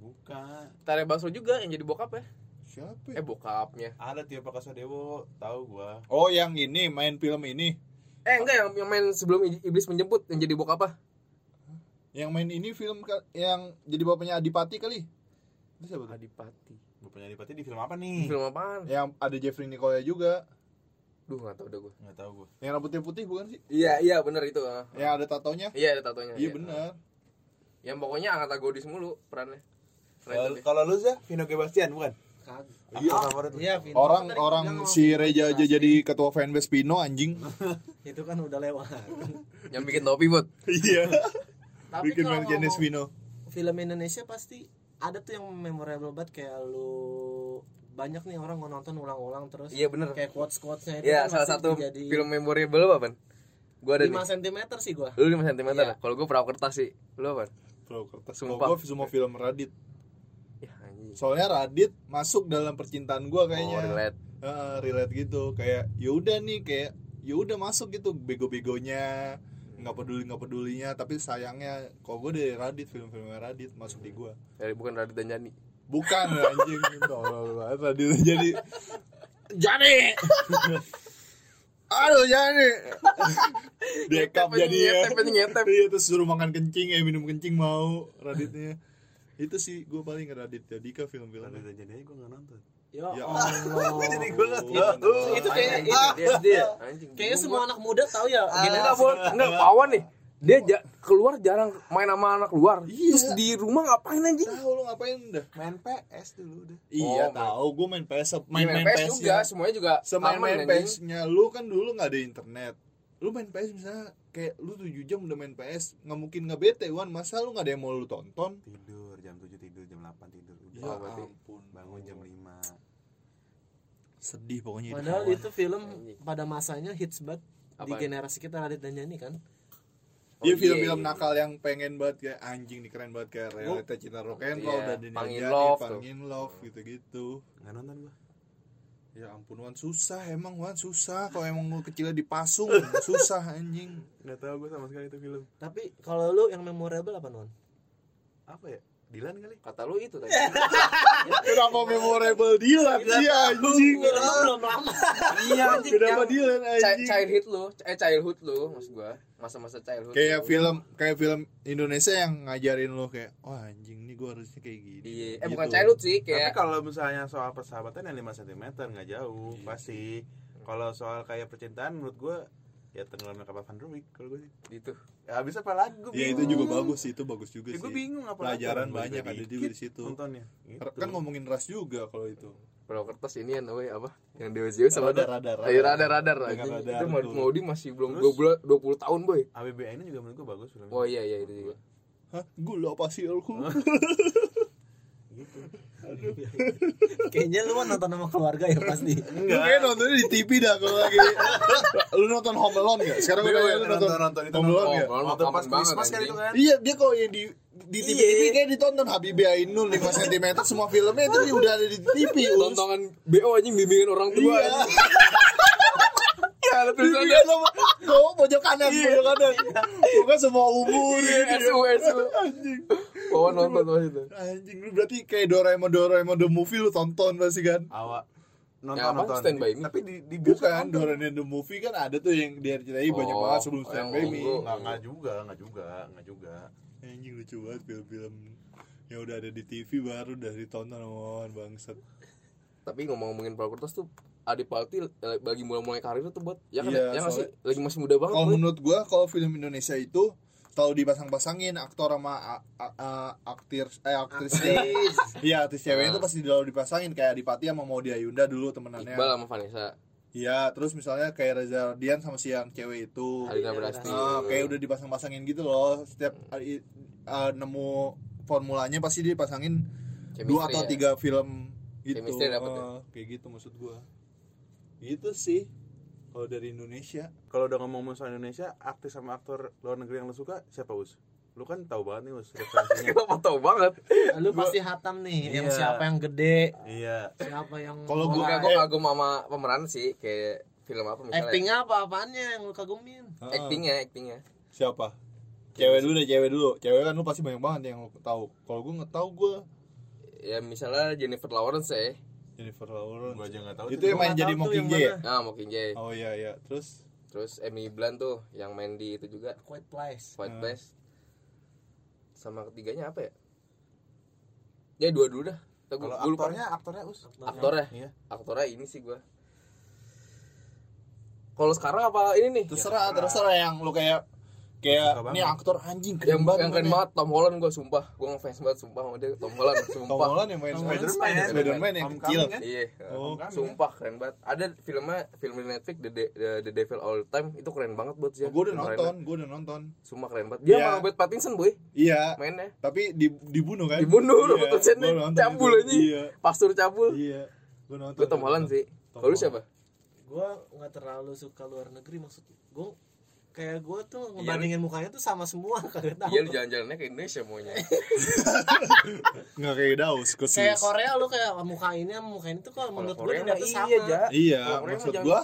B: Bukan.
C: Tare Basro juga yang jadi bokap ya.
D: Siapa?
C: Eh
D: ya?
C: bokapnya.
B: Ada Tio Pakasadewo, tahu gua.
D: Oh, yang ini main film ini.
C: Eh enggak yang, yang main sebelum iblis menjemput yang jadi bokap apa?
D: Yang main ini film ka- yang jadi bapaknya Adipati kali. Itu siapa tuh?
C: Adipati.
B: Bapaknya Adipati di film apa nih?
C: Film apaan?
D: Yang ada Jeffrey Nicole juga.
C: Duh enggak tahu udah gue.
B: Enggak tahu gua.
D: Yang rambutnya putih bukan sih?
C: Iya iya benar itu. ah.
D: Yang ada tatonya.
C: Iya ada tatonya.
D: Iya benar.
C: Yang pokoknya antagonis mulu perannya. Keren
B: Kalau-
C: tapi.
B: Kalau lu sih Vino Gebastian bukan?
E: Kagak.
B: Iya, favorit lu?
E: Iya, Vino.
D: Orang
E: Tadi
D: orang
E: bilang
D: si
E: sama
D: Reja aja jadi ketua fanbase Pino anjing.
E: itu kan udah lewat.
C: Yang bikin topi buat.
D: Iya.
E: Tapi
D: Bikin
E: kalau
D: fanbase
E: ngomong
D: Pino.
E: film Indonesia pasti ada tuh yang memorable banget kayak lu banyak nih orang mau nonton ulang-ulang terus
C: Iya, bener.
E: kayak quotes quotesnya itu
C: Iya
E: kan
C: salah
E: masih
C: satu
E: jadi
C: film memorable apa, Ban? Gua ada nih.
E: 5 cm sih gua
C: Lu 5 cm. Kalau gua perahu kertas sih. Lu apa?
D: Bro, kertas.
C: Sumpah.
D: Kalau gua semua film Radit.
C: Ya anjing.
D: Soalnya Radit masuk dalam percintaan gua kayaknya.
C: Oh, relate.
D: Heeh, relate gitu kayak yaudah nih kayak yaudah masuk gitu bego-begonya nggak peduli nggak pedulinya tapi sayangnya kalau gue dari Radit film-film Radit masuk di gue
C: Dari bukan Radit dan Jani.
D: bukan anjing tolol banget Radit jadi jadi aduh jadi dekap
C: Nyetep,
D: jadi ya
C: nyetep, nyetep.
D: iya terus suruh makan kencing eh minum kencing mau Raditnya itu sih gue paling ke Radit jadi ke
B: Kalau
D: film-filmnya
B: udah jadi aja gua nggak nonton. Oh.
E: ya
D: Ya
E: Allah
B: Jadi gua nggak tahu.
E: itu kayaknya
C: Anjing, dia dia anjing.
E: kayaknya semua anak muda tahu ya
C: gini
E: gini
C: enggak Ah, boleh. Enggak pawan nih. Dia ja- keluar jarang main sama anak luar.
D: Iya.
C: Terus di rumah ngapain anjing?
D: tahu lo ngapain dah
B: Main PS dulu udah.
D: Iya
C: Oh, main-
D: tahu, gue main PS,
C: Main,
D: main main,
C: PS,
D: PS,
C: juga,
D: juga.
C: semuanya juga
D: Semain
C: aman,
D: main
C: anjing.
D: PS-nya, lu kan dulu nggak ada internet. Lu main PS misalnya kayak lu 7 jam udah main PS, nggak mungkin nggak bete, Wan. Masa lu nggak ada yang mau lu tonton?
B: Tidur jam 7 tidur, jam 8 tidur.
D: Ya
B: Udah. Oh,
C: berarti.
D: ampun,
B: Bangun jam 5.
D: Sedih pokoknya. hidup
E: padahal
D: kawan.
E: itu film pada masanya hits banget di
C: Apaan?
E: generasi kita Radit dan Jani kan
C: Oh,
D: Iya
C: iya,
D: film-film
C: iya,
D: nakal yang pengen banget kayak anjing nih keren banget kayak realita cinta rock and roll
C: Iya,
D: dan Dini
C: Pangin
D: Anjani,
C: Love tuh.
D: Pangin Love gitu-gitu.
B: Enggak nonton gua.
D: Oh. Ya ampun Wan susah emang Wan susah kalau emang lu kecilnya dipasung susah anjing.
B: Enggak tahu gua sama sekali itu film.
E: tapi kalau lu yang memorable apa non
B: Apa ya? Dilan kali.
C: Kata lu itu tadi.
D: Kenapa memorable Dilan sih anjing?
E: belum lama
C: Iya anjing. yang
D: Kenapa Dilan
C: chi-
D: anjing?
C: Childhood lu, eh childhood lu maksud gua. Masa-masa childhood.
D: Kayak
C: lu.
D: film kayak film Indonesia yang ngajarin lo kayak wah anjing nih gue harusnya kayak gini.
C: Iya, eh
D: Gitu.
C: bukan childhood sih,
B: Tapi
C: kayak
B: kalau misalnya soal persahabatan yang 5 cm nggak jauh
D: Iya.
B: pasti. Kalau soal kayak percintaan menurut gua ya tenggelamnya kapal Van Der Wijk kalau gua sih.
C: gitu.
B: Ya habis apa lagi gua
D: Iya itu
B: bingung.
C: Hmm.
D: juga bagus sih, itu bagus juga
B: Ya,
D: sih.
B: gua bingung apa lagi.
D: Pelajaran
B: Gua
D: banyak
B: juga
D: ada
B: dikit
D: juga di situ.
B: Nontonnya. Gitu.
D: Kan ngomongin ras juga kalau itu.
C: Kalau kertas ini yang namanya apa? Yang Dewa sama
D: Radar, radar,
C: Iya, radar radar.
D: Dengan
C: anjing.
D: radar
C: Itu Maud-
D: tuh.
C: Maudi masih belum
B: Terus?
C: 12 20 tahun, boy.
B: ABBN juga menurut gua bagus filmnya.
C: Oh iya iya itu juga.
D: Hah, gula pasir aku.
B: Gitu.
E: kayaknya lu mah nonton sama keluarga ya pasti
D: Lu kayak nontonnya di TV dah kalau lagi. lu nonton Home Alone gak? Sekarang gue
B: Iya,
D: tanya lu
B: nonton-
D: Kan
B: nonton
D: nonton,
B: itu
D: Home Alone
B: nonton.
D: gak?
C: Oh, Maud
B: Waktu
C: makanan
B: pas
C: banget,
B: Christmas kan
C: anjing.
B: itu kan.
D: Iya dia kok yang di di TV TV
C: Iya.
D: kayak ditonton Habibie Ainun 5 cm semua filmnya itu udah ada di TV. Uns.
C: Tontongan BO anjing bimbingan orang tua.
D: Iya.
C: anjing. Ya, ada tulisannya
D: Iya sama kamu pojok kanan, pojok kanan. Bukan semua umur.
C: SU SU.
D: Anjing.
C: Oh nonton pas itu.
D: Anjing lu berarti kayak Doraemon Doraemon the movie lu tonton pasti kan?
B: Awak nonton
C: Yang apa?
B: nonton.
C: Stand by Me?
B: Tapi di di bioskop
D: Bukan
B: nonton.
D: Doraemon the movie kan ada tuh yang dia ceritain banyak
C: Oh,
D: banget sebelum
C: yang
D: Stand By Me.
C: ungu.
B: Nggak nggak juga, nggak juga, nggak juga.
D: Anjing lucu banget film-film yang udah ada di TV baru udah ditonton sama orang bangsat.
C: Tapi ngomong-ngomongin Paul Kertas tuh Adi Palti eh, bagi mulai-mulai karir tuh buat ya kan
D: Iya,
C: ya nggak sih
D: soalnya-
C: lagi masih muda banget.
D: Kalau
C: Boy.
D: menurut gua kalau film Indonesia itu selalu dipasang-pasangin aktor sama a- a- a- aktir eh aktris Iya, artis cewek itu pasti selalu dipasangin kayak Adipati sama Maudy Ayunda dulu temenannya.
C: Iqbal sama Vanessa.
D: Iya, terus misalnya kayak Reza Radian sama si yang cewek itu.
C: Alina
E: Iya,
C: Berasti.
D: Ah, kayak udah dipasang-pasangin gitu loh. Setiap hari, ah, nemu formulanya pasti dipasangin
C: Chemistry
D: dua atau
C: ya.
D: tiga film gitu.
C: Chemistry dapet ya?
D: Ah, kayak gitu maksud gua. Gitu sih. Kalau dari Indonesia,
B: Kalau udah ngomong soal Indonesia, artis sama aktor luar negeri yang lu suka siapa Us? Lu kan tahu banget nih Us referensinya.
C: Kenapa tau banget?
E: Lu pasti hatam nih yang
B: Iya.
E: siapa yang gede,
B: iya.
E: siapa yang
D: Kalau
C: Gue
D: Oh, gua-
E: mulai.
C: kagum kagum sama pemeran sih kayak film apa misalnya.
E: actingnya apa apaannya yang lu kagumin?
D: Ah,
C: Actingnya, actingnya.
D: siapa? Cewek dulu deh, cewek dulu. Cewek kan lu pasti banyak banget yang lu tahu. Kalau gua nggak tahu gua
C: Ya misalnya Jennifer Lawrence ya.
D: Jennifer Lawrence.
B: Gua aja enggak tahu.
D: itu
B: tuh.
D: yang main
E: Gua nggak
D: jadi
E: tahu tuh yang
D: Mockingjay ya?
C: Nah, Mockingjay.
D: Oh iya iya. Terus
C: Terus Emily Blunt tuh yang main di itu juga
E: Quiet Place.
C: White
D: Hmm.
C: Place. Sama ketiganya apa ya? Ya dua dulu dah. Tuh,
B: Kalau
C: gua- gua lupa.
B: aktornya, aktornya Us.
C: aktornya.
B: Iya.
C: Aktornya ini sih gua. Kalau sekarang apa ini nih?
D: terserah terserah yang lu kayak kayak
B: Suka banget.
D: ini aktor anjing
C: yang,
D: keren banget
C: yang keren ya.
D: mainnya."
C: banget Tom Holland gue sumpah gue ngefans banget sumpah sama dia Tom Holland
D: Tom
C: sumpah
D: Holland yang main
E: Tom
D: Spider-Man
E: Holland
B: Spider-Man.
D: Spider-Man yang
B: Homecoming
D: kecil
B: kan?
C: iya
D: Oh.
B: Homecoming.
C: sumpah keren banget ada filmnya film di Netflix The, De- The, The Devil All Time itu keren banget buat sih
D: gue udah nonton gue udah nonton
C: sumpah keren banget dia
D: Iya.
C: sama Robert Pattinson boy
D: iya
C: mainnya
D: tapi di, dibunuh kan
C: Dibunuh, Robert
D: Iya,
C: Pattinson
D: gua
C: nih.
D: nonton
C: Cabul
D: itu.
C: aja.
D: iya
C: Pastur cabul
D: iya gue nonton
C: gue Tom Holland sih
D: Tom
C: kalau lu
D: Holland.
C: siapa
E: Gua nggak terlalu suka luar negeri maksud gua kayak gua tuh
C: Iya,
E: ngebandingin mukanya tuh sama semua kagak
D: Nah,
E: tahu.
C: iya lu jalan-jalannya ke Indonesia maunya
D: nggak kayak Daus khusus
E: kayak Korea lu kayak muka ini sama muka ini tuh kalau menurut gua tidak tuh sama.
C: iya ja Kalau
D: iya
C: Korea mah
D: maksud
C: jangan-
D: gue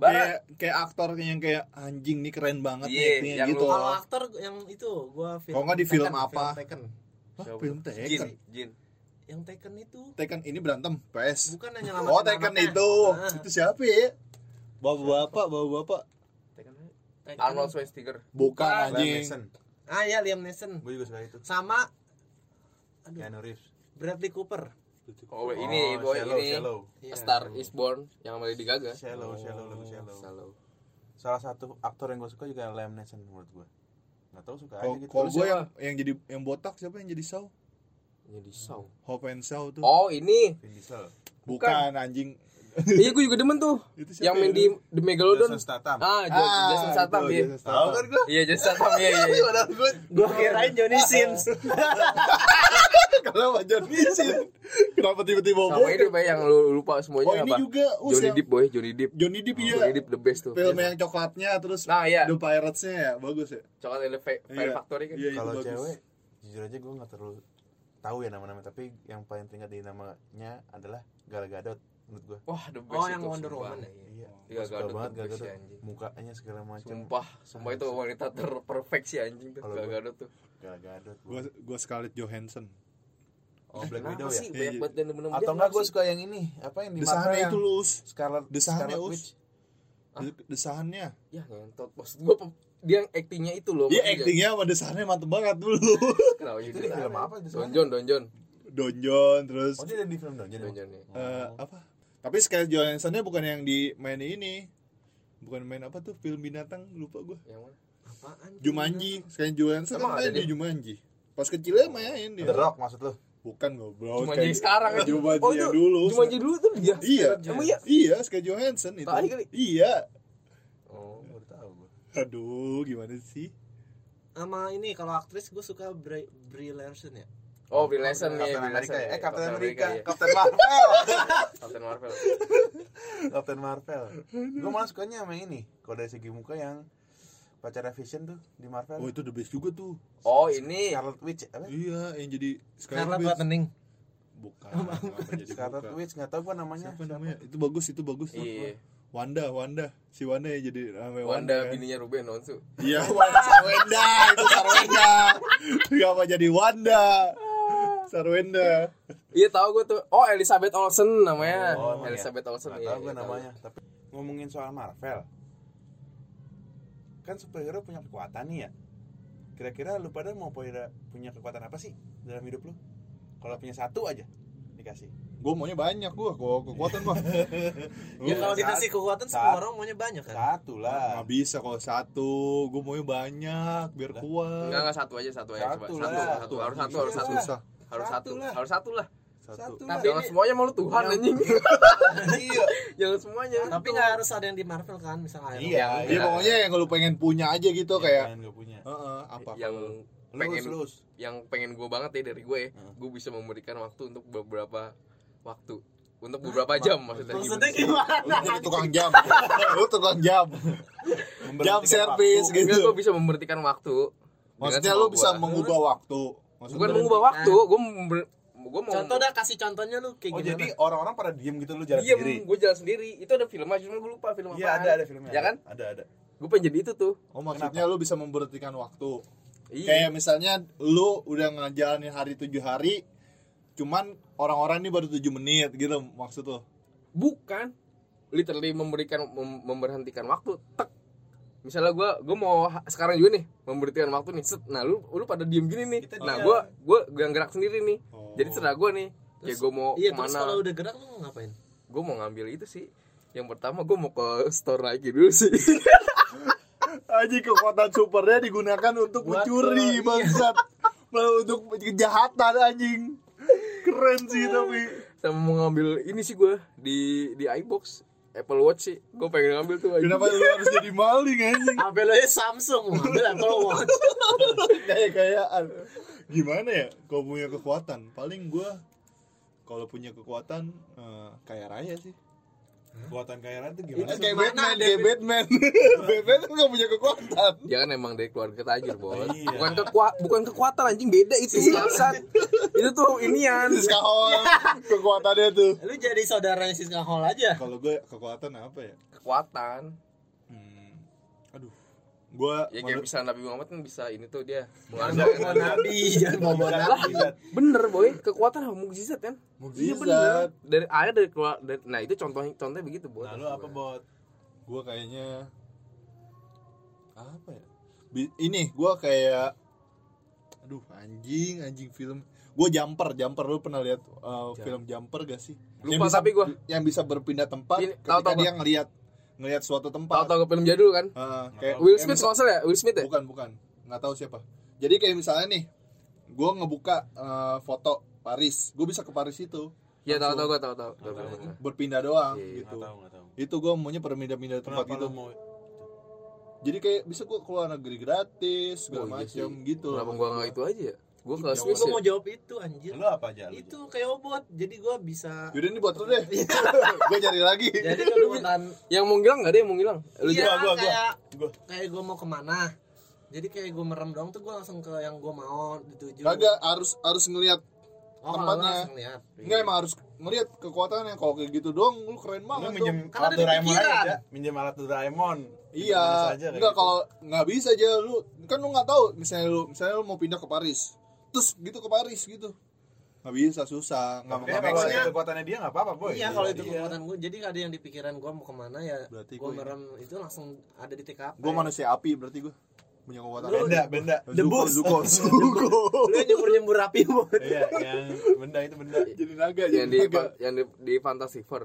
C: Barat
D: kayak kayak aktor yang kayak anjing nih keren banget
C: Iya,
D: nih actingnya
C: yang
D: gitu
C: lu-
E: Kalau
D: loh
E: aktor yang itu gua film
D: Kalau nggak di film
E: Taken,
D: apa?
E: Taken.
D: Hah,
C: Siapa?
D: film
C: Jin
D: Taken
C: Jin
E: Yang Taken itu
D: Taken ini berantem PS
E: bukan yang nyelamatin
D: oh Taken
E: anaknya.
D: itu
E: Ah,
D: itu siapa ya bapak-bapak bapak-bapak
E: Taken.
C: Arnold Schwarzenegger
D: bukan
B: Liam
D: anjing
B: Neeson.
E: Ah ya Liam Neeson
B: Gue juga suka itu.
E: sama aduh,
B: Keanu Reeves.
E: Bradley Cooper.
C: oh ini boy
B: Shallow,
C: ini
B: Shallow.
E: Iya.
C: A Star is Born yang sama Lady Gaga.
B: Shallow, shallow, lagu shallow.
C: Oh, Shallow.
B: Salah satu aktor yang gue suka juga Liam Neeson menurut gue. Gak tau suka aja
D: Kalau-
B: gitu.
D: Kalau
C: Terus
D: gue
C: siapa?
D: yang yang jadi yang botak siapa yang jadi Saw?
C: Jadi Saw.
D: Hope and Saw tuh.
C: Oh ini,
B: Vin Diesel.
D: bukan. anjing.
C: iya gue juga demen tuh.
D: Itu siapa
C: yang main
D: ya?
C: di The Megalodon.
B: Jason Statham.
C: Ah, Jo- Jason
D: itu,
C: Statham ya.
D: Jason Statham.
B: Tahu kan gue?
C: Iya Jason Statham ya. Iya.
E: Gua kirain Johnny Sins.
D: Kalau Pak John Vincent. Kenapa tiba-tiba
C: Sama
D: botak?
C: ini Bay, yang lu lupa
D: Oh
C: semuanya
D: ini
C: apa?
D: juga us
C: Johnny
D: yang-
C: Depp boy, Johnny Depp.
D: Johnny Depp iya.
C: Johnny Depp the best tuh.
D: Film yang coklatnya terus
C: Nah iya,
D: The Pirates-nya ya bagus ya.
C: coklat ada Fair
D: Iya.
C: Factory kan.
D: Iya, itu
B: Kalau
D: bagus.
B: cewek, jujur aja gue gak terlalu tahu ya nama-nama. Tapi yang paling teringat di namanya adalah Gal Gadot menurut gue.
C: Wah the best
E: Oh, yang
C: itu,
E: Wonder
C: sumpah.
E: Woman ya?
B: Iya,
C: Iya,
B: gua suka
C: Gadot
B: banget
C: the
B: Gal
C: best
B: Gadot. ya,
C: sih, anjing.
B: Mukanya segala macam.
C: Sumpah, sumpah itu wanita terperfek sih anjing tuh.
B: Kalau
C: Gak
B: gua-
C: gadot tuh.
B: Gal Gadot.
D: Gua gua Scarlett Johansson.
B: Oh, Black
C: Kenapa
B: Widow ya?
C: sih banyak
D: Iya.
C: banget yang demen-demen dia,
B: Atau enggak
C: kenapa
B: gue
C: sih?
B: suka yang ini apa yang di mata
D: Desahannya
B: yang
D: itu lus.
B: Scarlet
D: Desahannya
B: Scarlet
D: us.
B: Witch
D: De- Desahannya.
C: Ya ngentot maksud gue dia yang actingnya itu loh.
D: Iya
C: maksudnya.
D: actingnya sama desahannya mantep banget dulu.
C: Kenapa
B: itu
C: jadi
B: di film
C: aneh?
B: apa Iya. itu
C: Don John, Don John,
D: Donjon terus
B: oh dia ada di film Donjon
C: Don
B: emang?
C: John ya.
B: Oh.
D: eh, apa? Tapi Scarlett Johansson-nya bukan yang di main ini. Bukan main apa tuh film binatang lupa gua.
C: Yang mana?
E: Apaan?
D: Jumanji sekalian Johansson
C: Iya. Emang
D: kan
C: ada
D: main di
C: dia?
D: Jumanji pas kecilnya main dia
B: The Rock maksud lu
D: bukan goblok
C: Jumanji yang sekarang kan?
D: Jumanji
C: Oh,
D: yang
C: itu
D: dulu
C: Cuma jadi dulu tuh dia.
D: iya
C: Emang iya.
D: iya sekalian Johansson itu
C: Tai kali.
D: iya
C: Oh.
B: baru tahu gue
D: aduh gimana sih
E: Sama ini kalau aktris gue suka Brie, Brie Larson ya.
C: Oh, Bill Lesson nih,
B: Captain
C: Bill
B: America ya?
C: Lesson. ya.
B: Eh, Captain America,
C: iya.
B: Captain Marvel,
C: Captain Marvel.
B: Captain Marvel. Gue malah sukanya sama ini. Kalau dari segi muka yang pacarnya Vision tuh di
D: oh
B: Marvel,
D: itu the best juga tuh
C: Oh, ini
B: Scarlet Witch, apa?
D: iya yang jadi
E: Scarlett
D: Witch.
E: Wittening.
D: bukan kenapa jadi
B: Scarlet
D: bukan.
B: Witch nggak tahu gue namanya.
D: siapa namanya itu bagus itu bagus
C: Iya.
D: Wanda Wanda si Wanda yang jadi
B: ya.
D: namanya Wanda,
C: Wanda
D: kan?
C: bininya Ruben Onsu.
D: Iya, Wanda Sarwenda, itu Sarwenda. Kenapa jadi Wanda?
C: Ah.
D: Sarwenda.
C: Iya, tahu gue tuh. Oh, Elizabeth Olsen namanya.
B: Oh, emang ya?
C: Elizabeth Olsen.
B: Nggak
C: iya,
B: tahu
C: iya,
B: gue namanya. Tapi ngomongin soal Marvel, kan superhero punya kekuatan nih ya. Kira-kira lu pada mau punya punya kekuatan apa sih dalam hidup lu? Kalau punya satu aja dikasih.
D: Gue maunya banyak gue, gue kekuatan mah.
C: Iya,
B: Iya,
E: Ya kalau
B: Saat-
E: dikasih kekuatan
B: saat-
E: semua orang maunya banyak kan.
B: Satu lah.
D: Nggak bisa kalau satu, gue maunya banyak biar
B: Lah,
C: Enggak,
D: kuat.
C: enggak satu aja, satu aja coba.
B: Satu
C: Satu,
B: lah.
C: satu, harus satu, harus satu.
B: Iya.
D: Susah.
C: Harus
B: Satu
C: satu,
B: lah.
C: harus satu lah.
B: Satu.
E: Tapi
C: Jangan
E: ini-
C: semuanya malu Tuhan anjing.
D: iya
C: Jangan semuanya.
E: Tapi nggak harus ada yang di Marvel kan, misalnya Iron
D: iya
C: enggak.
D: iya pokoknya yang lu pengen punya aja gitu kayak
B: Yang nggak punya.
D: Heeh, apa
C: yang
B: Lulus,
C: pengen
B: lulus.
C: yang pengen gue banget ya dari gue ya,
B: Hmm.
C: gue bisa memberikan waktu untuk beberapa waktu untuk beberapa jam maksudnya,
E: Man.
C: gitu.
E: Maksudnya gimana?
D: lu jadi tukang jam lu tukang jam jam
B: Memberhentikan
D: servis
B: waktu.
C: Enggak,
D: gitu
C: gue bisa memberhentikan waktu
D: maksudnya lu bisa
C: mengubah
D: mengubah waktu
C: bukan
D: maksudnya
C: mengubah waktu gue gue mau
E: Contoh dah kasih contohnya lu kayak
B: Oh
E: gimana?
B: jadi orang-orang pada diem gitu lu jalan sendiri.
C: diem gue jalan sendiri itu ada film aja cuma gue lupa film apa
B: Iya ada ada filmnya.
C: ya kan
B: Ada ada.
C: gue pengen jadi itu tuh
D: oh maksudnya lu bisa memberhentikan waktu
C: iya
D: kayak misalnya lu udah ngejalanin hari tujuh hari cuman orang-orang ini baru tujuh menit gitu maksud lu
C: bukan literally memberikan mem- memberhentikan waktu tek misalnya gue gue mau ha- sekarang juga nih memberhentikan waktu nih set nah lu lu pada diem gini nih
B: Kita
C: nah
B: diam.
C: gue gue yang gerak sendiri nih
D: Oh.
C: jadi terserah gue nih ya
E: Terus-
C: gue
B: oh,
C: mau
E: Iya, terus kalau
C: kemana
E: udah gerak lu mau ngapain?
C: gue mau ngambil itu sih yang pertama gue mau ke store lagi dulu sih
D: Aji kekuatan supernya digunakan untuk
B: Buat
D: mencuri bangsat. Malah untuk kejahatan anjing. Keren sih tapi.
C: sama mau ngambil ini sih gue di di iBox Apple Watch sih gue pengen ngambil tuh anjing.
D: Kenapa lu harus jadi maling anjing?
E: HP lu aja Samsung, mau ambil Apple Watch.
D: Kayak kayaan. Gimana ya kalau punya kekuatan? Paling gua kalau punya kekuatan eh, kayak raya sih.
B: Kekuatan kaya raya itu gimana?
D: Itu
B: Iya.
D: kayak
E: gimana,
D: Batman,
E: David?
D: kayak Batman. Batman kan gak punya kekuatan.
C: dia kan emang dari keluarga tajir bos
B: Iya.
C: bukan kekua bukan kekuatan anjing beda itu bangsat itu tuh inian
D: Siska Hall kekuatannya tuh.
E: Lu jadi saudaranya Siska Hall aja.
D: Kalau gue kekuatan apa ya?
C: kekuatan
D: Hmm, aduh. Gua
C: ya
D: menurut-
C: kayak bisa Nabi Muhammad kan bisa ini tuh dia
B: Iya,
E: Jangan
C: mengandalkan
E: bawa nabi, jangan bawa
B: Mukjizat,
E: nabi.
B: mukjizat.
C: bener boy kekuatan sama mukjizat kan
D: Mukjizat.
C: dari air dari keluar dari- nah itu contohnya contohnya begitu bos
B: Nah lu apa bot?
D: gue kayaknya apa ya Bi- ini gue kayak aduh anjing anjing film gue jumper jumper lu pernah lihat uh, film jumper gak sih
C: Lupa tapi gua.
D: yang bisa berpindah tempat
C: Ini,
D: ketika
C: tahu-tahu
D: dia ngelihat ngelihat suatu
C: tau
D: tempat
C: tau film jadul kan
D: Ah, kayak
C: Will
D: kayak
C: Smith kalau
D: misal-
C: nggak salah ya Will Smith ya
D: bukan bukan nggak tahu siapa jadi kayak misalnya nih gue ngebuka uh, foto Paris gue bisa ke Paris itu
C: ya tau tau
D: Langsung
C: gue tau tau
B: Nggak tahu gua.
D: berpindah doang
C: Iya, iya,
D: gitu
B: Nggak tahu nggak tahu.
D: itu gue maunya berpindah-pindah tempat
B: Kenapa
D: gitu
B: lu mau?
D: jadi kayak bisa gue keluar negeri gratis segala
C: Oh, iya
D: macam
C: sih.
D: gitu
C: kenapa gua nggak itu aja ya gua ke
E: Justru
C: Swiss
E: gue
C: ya
E: mau jawab itu anjir.
B: Lu apa aja? Lu?
E: Itu kayak obot, jadi gue bisa.
D: yaudah ini buat lu deh gue cari lagi
B: Iya.
E: Jadi kekuatan
C: yang mau ngilang nggak ada yang mau ngilang lu
B: gua,
E: Iya,
B: gua, gua.
E: kayak
B: Gua.
E: kayak gue mau kemana. Jadi kayak gue merem doang tuh gue langsung ke yang gue mau dituju.
D: kagak harus harus ngelihat
E: oh, kalau
D: tempatnya.
E: lu langsung lihat.
D: enggak emang harus ngelihat kekuatannya kalau kayak gitu doang lu keren
B: Lu
D: banget
B: minjem
D: dong
E: Kan ada
B: alat
E: di
B: Doraemon
E: pikiran.
B: aja. Minjem alat Doraemon. Gimana
D: iya
B: saja kayak
D: enggak
B: gitu.
D: kalau nggak bisa aja lu kan lu nggak tahu misalnya lu misalnya lu mau pindah ke Paris terus gitu ke Paris gitu nggak bisa susah nggak
B: Makanya
D: nggak make
B: kalau
D: sense.
B: itu kekuatannya dia nggak apa-apa boy.
E: Iya, kalau itu
B: Iya.
E: kekuatan gue. Jadi ada yang di pikiran gue mau kemana ya.
D: Berarti
E: gue
D: gua ini.
E: merem itu langsung ada di TKP.
D: gue manusia api berarti gue punya kekuatan
B: Benda benda.
D: debus zuko zuko
E: Lu nyembur nyembur api Bot.
B: Iya yang benda itu benda.
D: jadi naga
C: yang di
D: jadi naga
C: yang di, di Fantastic Four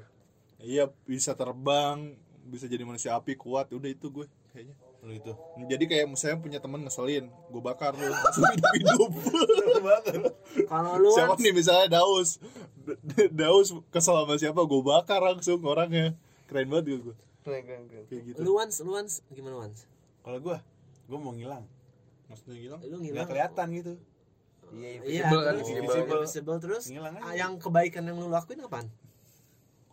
D: Iya bisa terbang, bisa jadi manusia api kuat, udah itu gue kayaknya.
B: Lu itu.
D: Jadi kayak misalnya punya teman ngeselin, gue bakar lu langsung hidup hidup.
E: Kalau lu
D: siapa nih misalnya Daus, D- D- Daus kesel sama siapa, gue bakar langsung orangnya. Keren banget gitu gue, gue.
C: keren keren keren
D: kayak gitu.
E: lu once, lu once gimana once?
B: Kalau gua, gua mau ngilang.
D: Maksudnya hilang?
E: Lu
B: Nggak
E: ngilang.
B: kelihatan gitu.
C: iya
E: Iya,
C: invisible kan
E: terus-
C: invisible
B: Invisible.
E: invisible. terus
B: Ngilang aja.
E: ah, yang kebaikan yang lu lakuin apaan?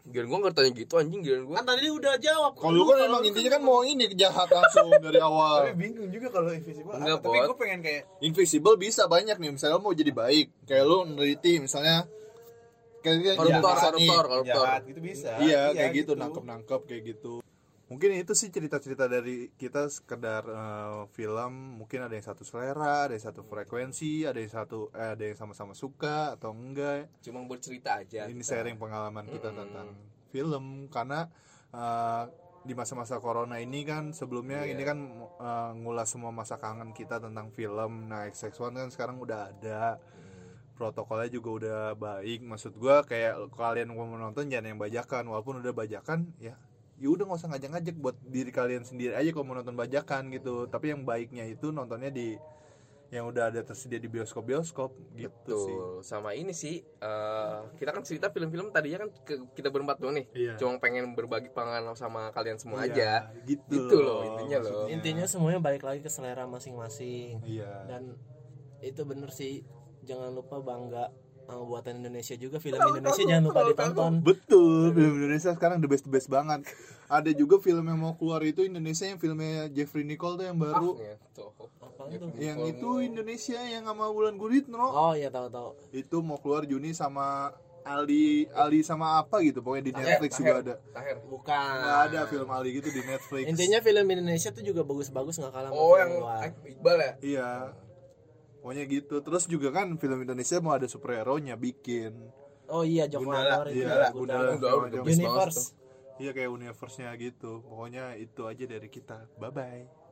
C: Giliran gua nggak tanya gitu anjing giliran gua
E: Kan tadi udah jawab.
D: Kalau lu kan emang intinya kan mau ini jahat langsung dari
B: Tapi
D: awal.
B: bingung juga kalau invisible. apa.
C: Nggak,
B: Tapi
C: Bot.
B: gua pengen kayak
D: Invisible bisa banyak nih, misalnya lu mau jadi baik, kayak lu neliti misalnya kayak
C: koruptor
D: jahat nih.
C: koruptor koruptor
B: jahat gitu bisa.
D: iya kayak gitu, nangkep-nangkep kayak gitu mungkin itu sih cerita-cerita dari kita sekedar eh, film mungkin ada yang satu selera ada yang satu frekuensi ada yang satu eh, ada yang sama-sama suka atau enggak
C: cuma bercerita aja Iya,
D: ini
C: kita.
D: sharing pengalaman kita
C: Mm-mm.
D: tentang film karena eh, di masa-masa corona ini kan sebelumnya
C: Iya.
D: ini kan eh, ngulas semua masa kangen kita tentang film nah XX1 kan sekarang udah ada
C: Mm.
D: protokolnya juga udah baik maksud gua kayak kalian mau menonton jangan yang bajakan walaupun udah bajakan ya ya udah nggak usah ngajak-ngajak buat diri kalian sendiri aja kalau mau nonton bajakan gitu tapi yang baiknya itu nontonnya di yang udah ada tersedia di bioskop-bioskop gitu sih.
C: Tuh, sama ini sih eh, kita kan cerita film-film tadinya kan ke- kita berempat doang nih.
D: Iya.
C: Cuma pengen berbagi pengalaman sama kalian semua
D: Iya,
C: aja.
D: Gitu,
C: Gitu loh, intinya loh.
D: maksudnya.
E: Intinya semuanya balik lagi ke selera masing-masing.
D: Iya.
E: dan itu bener sih jangan lupa bangga sama buatan Indonesia juga film Indonesia jangan lupa ditonton Iya,
D: Betul, film Indonesia sekarang the best the best banget. Ada juga film yang mau keluar itu Indonesia yang filmnya Jeffrey Nicole tuh yang baru.
C: Ya, tuh.
E: Apaan tuh?
D: yang itu Indonesia yang sama Wulan Guritno.
E: oh ya tahu tahu
D: Itu mau keluar Juni sama Ali Ali sama apa gitu pokoknya di Netflix
C: Taher,
D: juga
C: Taher,
D: ada.
C: Taher.
E: bukan
D: Nggak
C: Nah,
D: ada film Ali gitu di Netflix.
E: intinya film Indonesia tuh juga bagus-bagus nggak kalah sama
C: Oh,
E: film
C: yang
E: luar.
C: Iqbal ya?
D: Iya. Pokoknya gitu. Terus juga kan film Indonesia mau ada superhero-nya bikin.
E: oh iya Joko
D: Gundala,
E: Anwar itu
D: iya,
E: juga.
D: Gundala.
C: Udah, udah, udah
D: Gundala.
C: bagus banget
E: Universe
C: tuh.
D: Iya kayak universe-nya gitu. Pokoknya itu aja dari kita. Bye bye.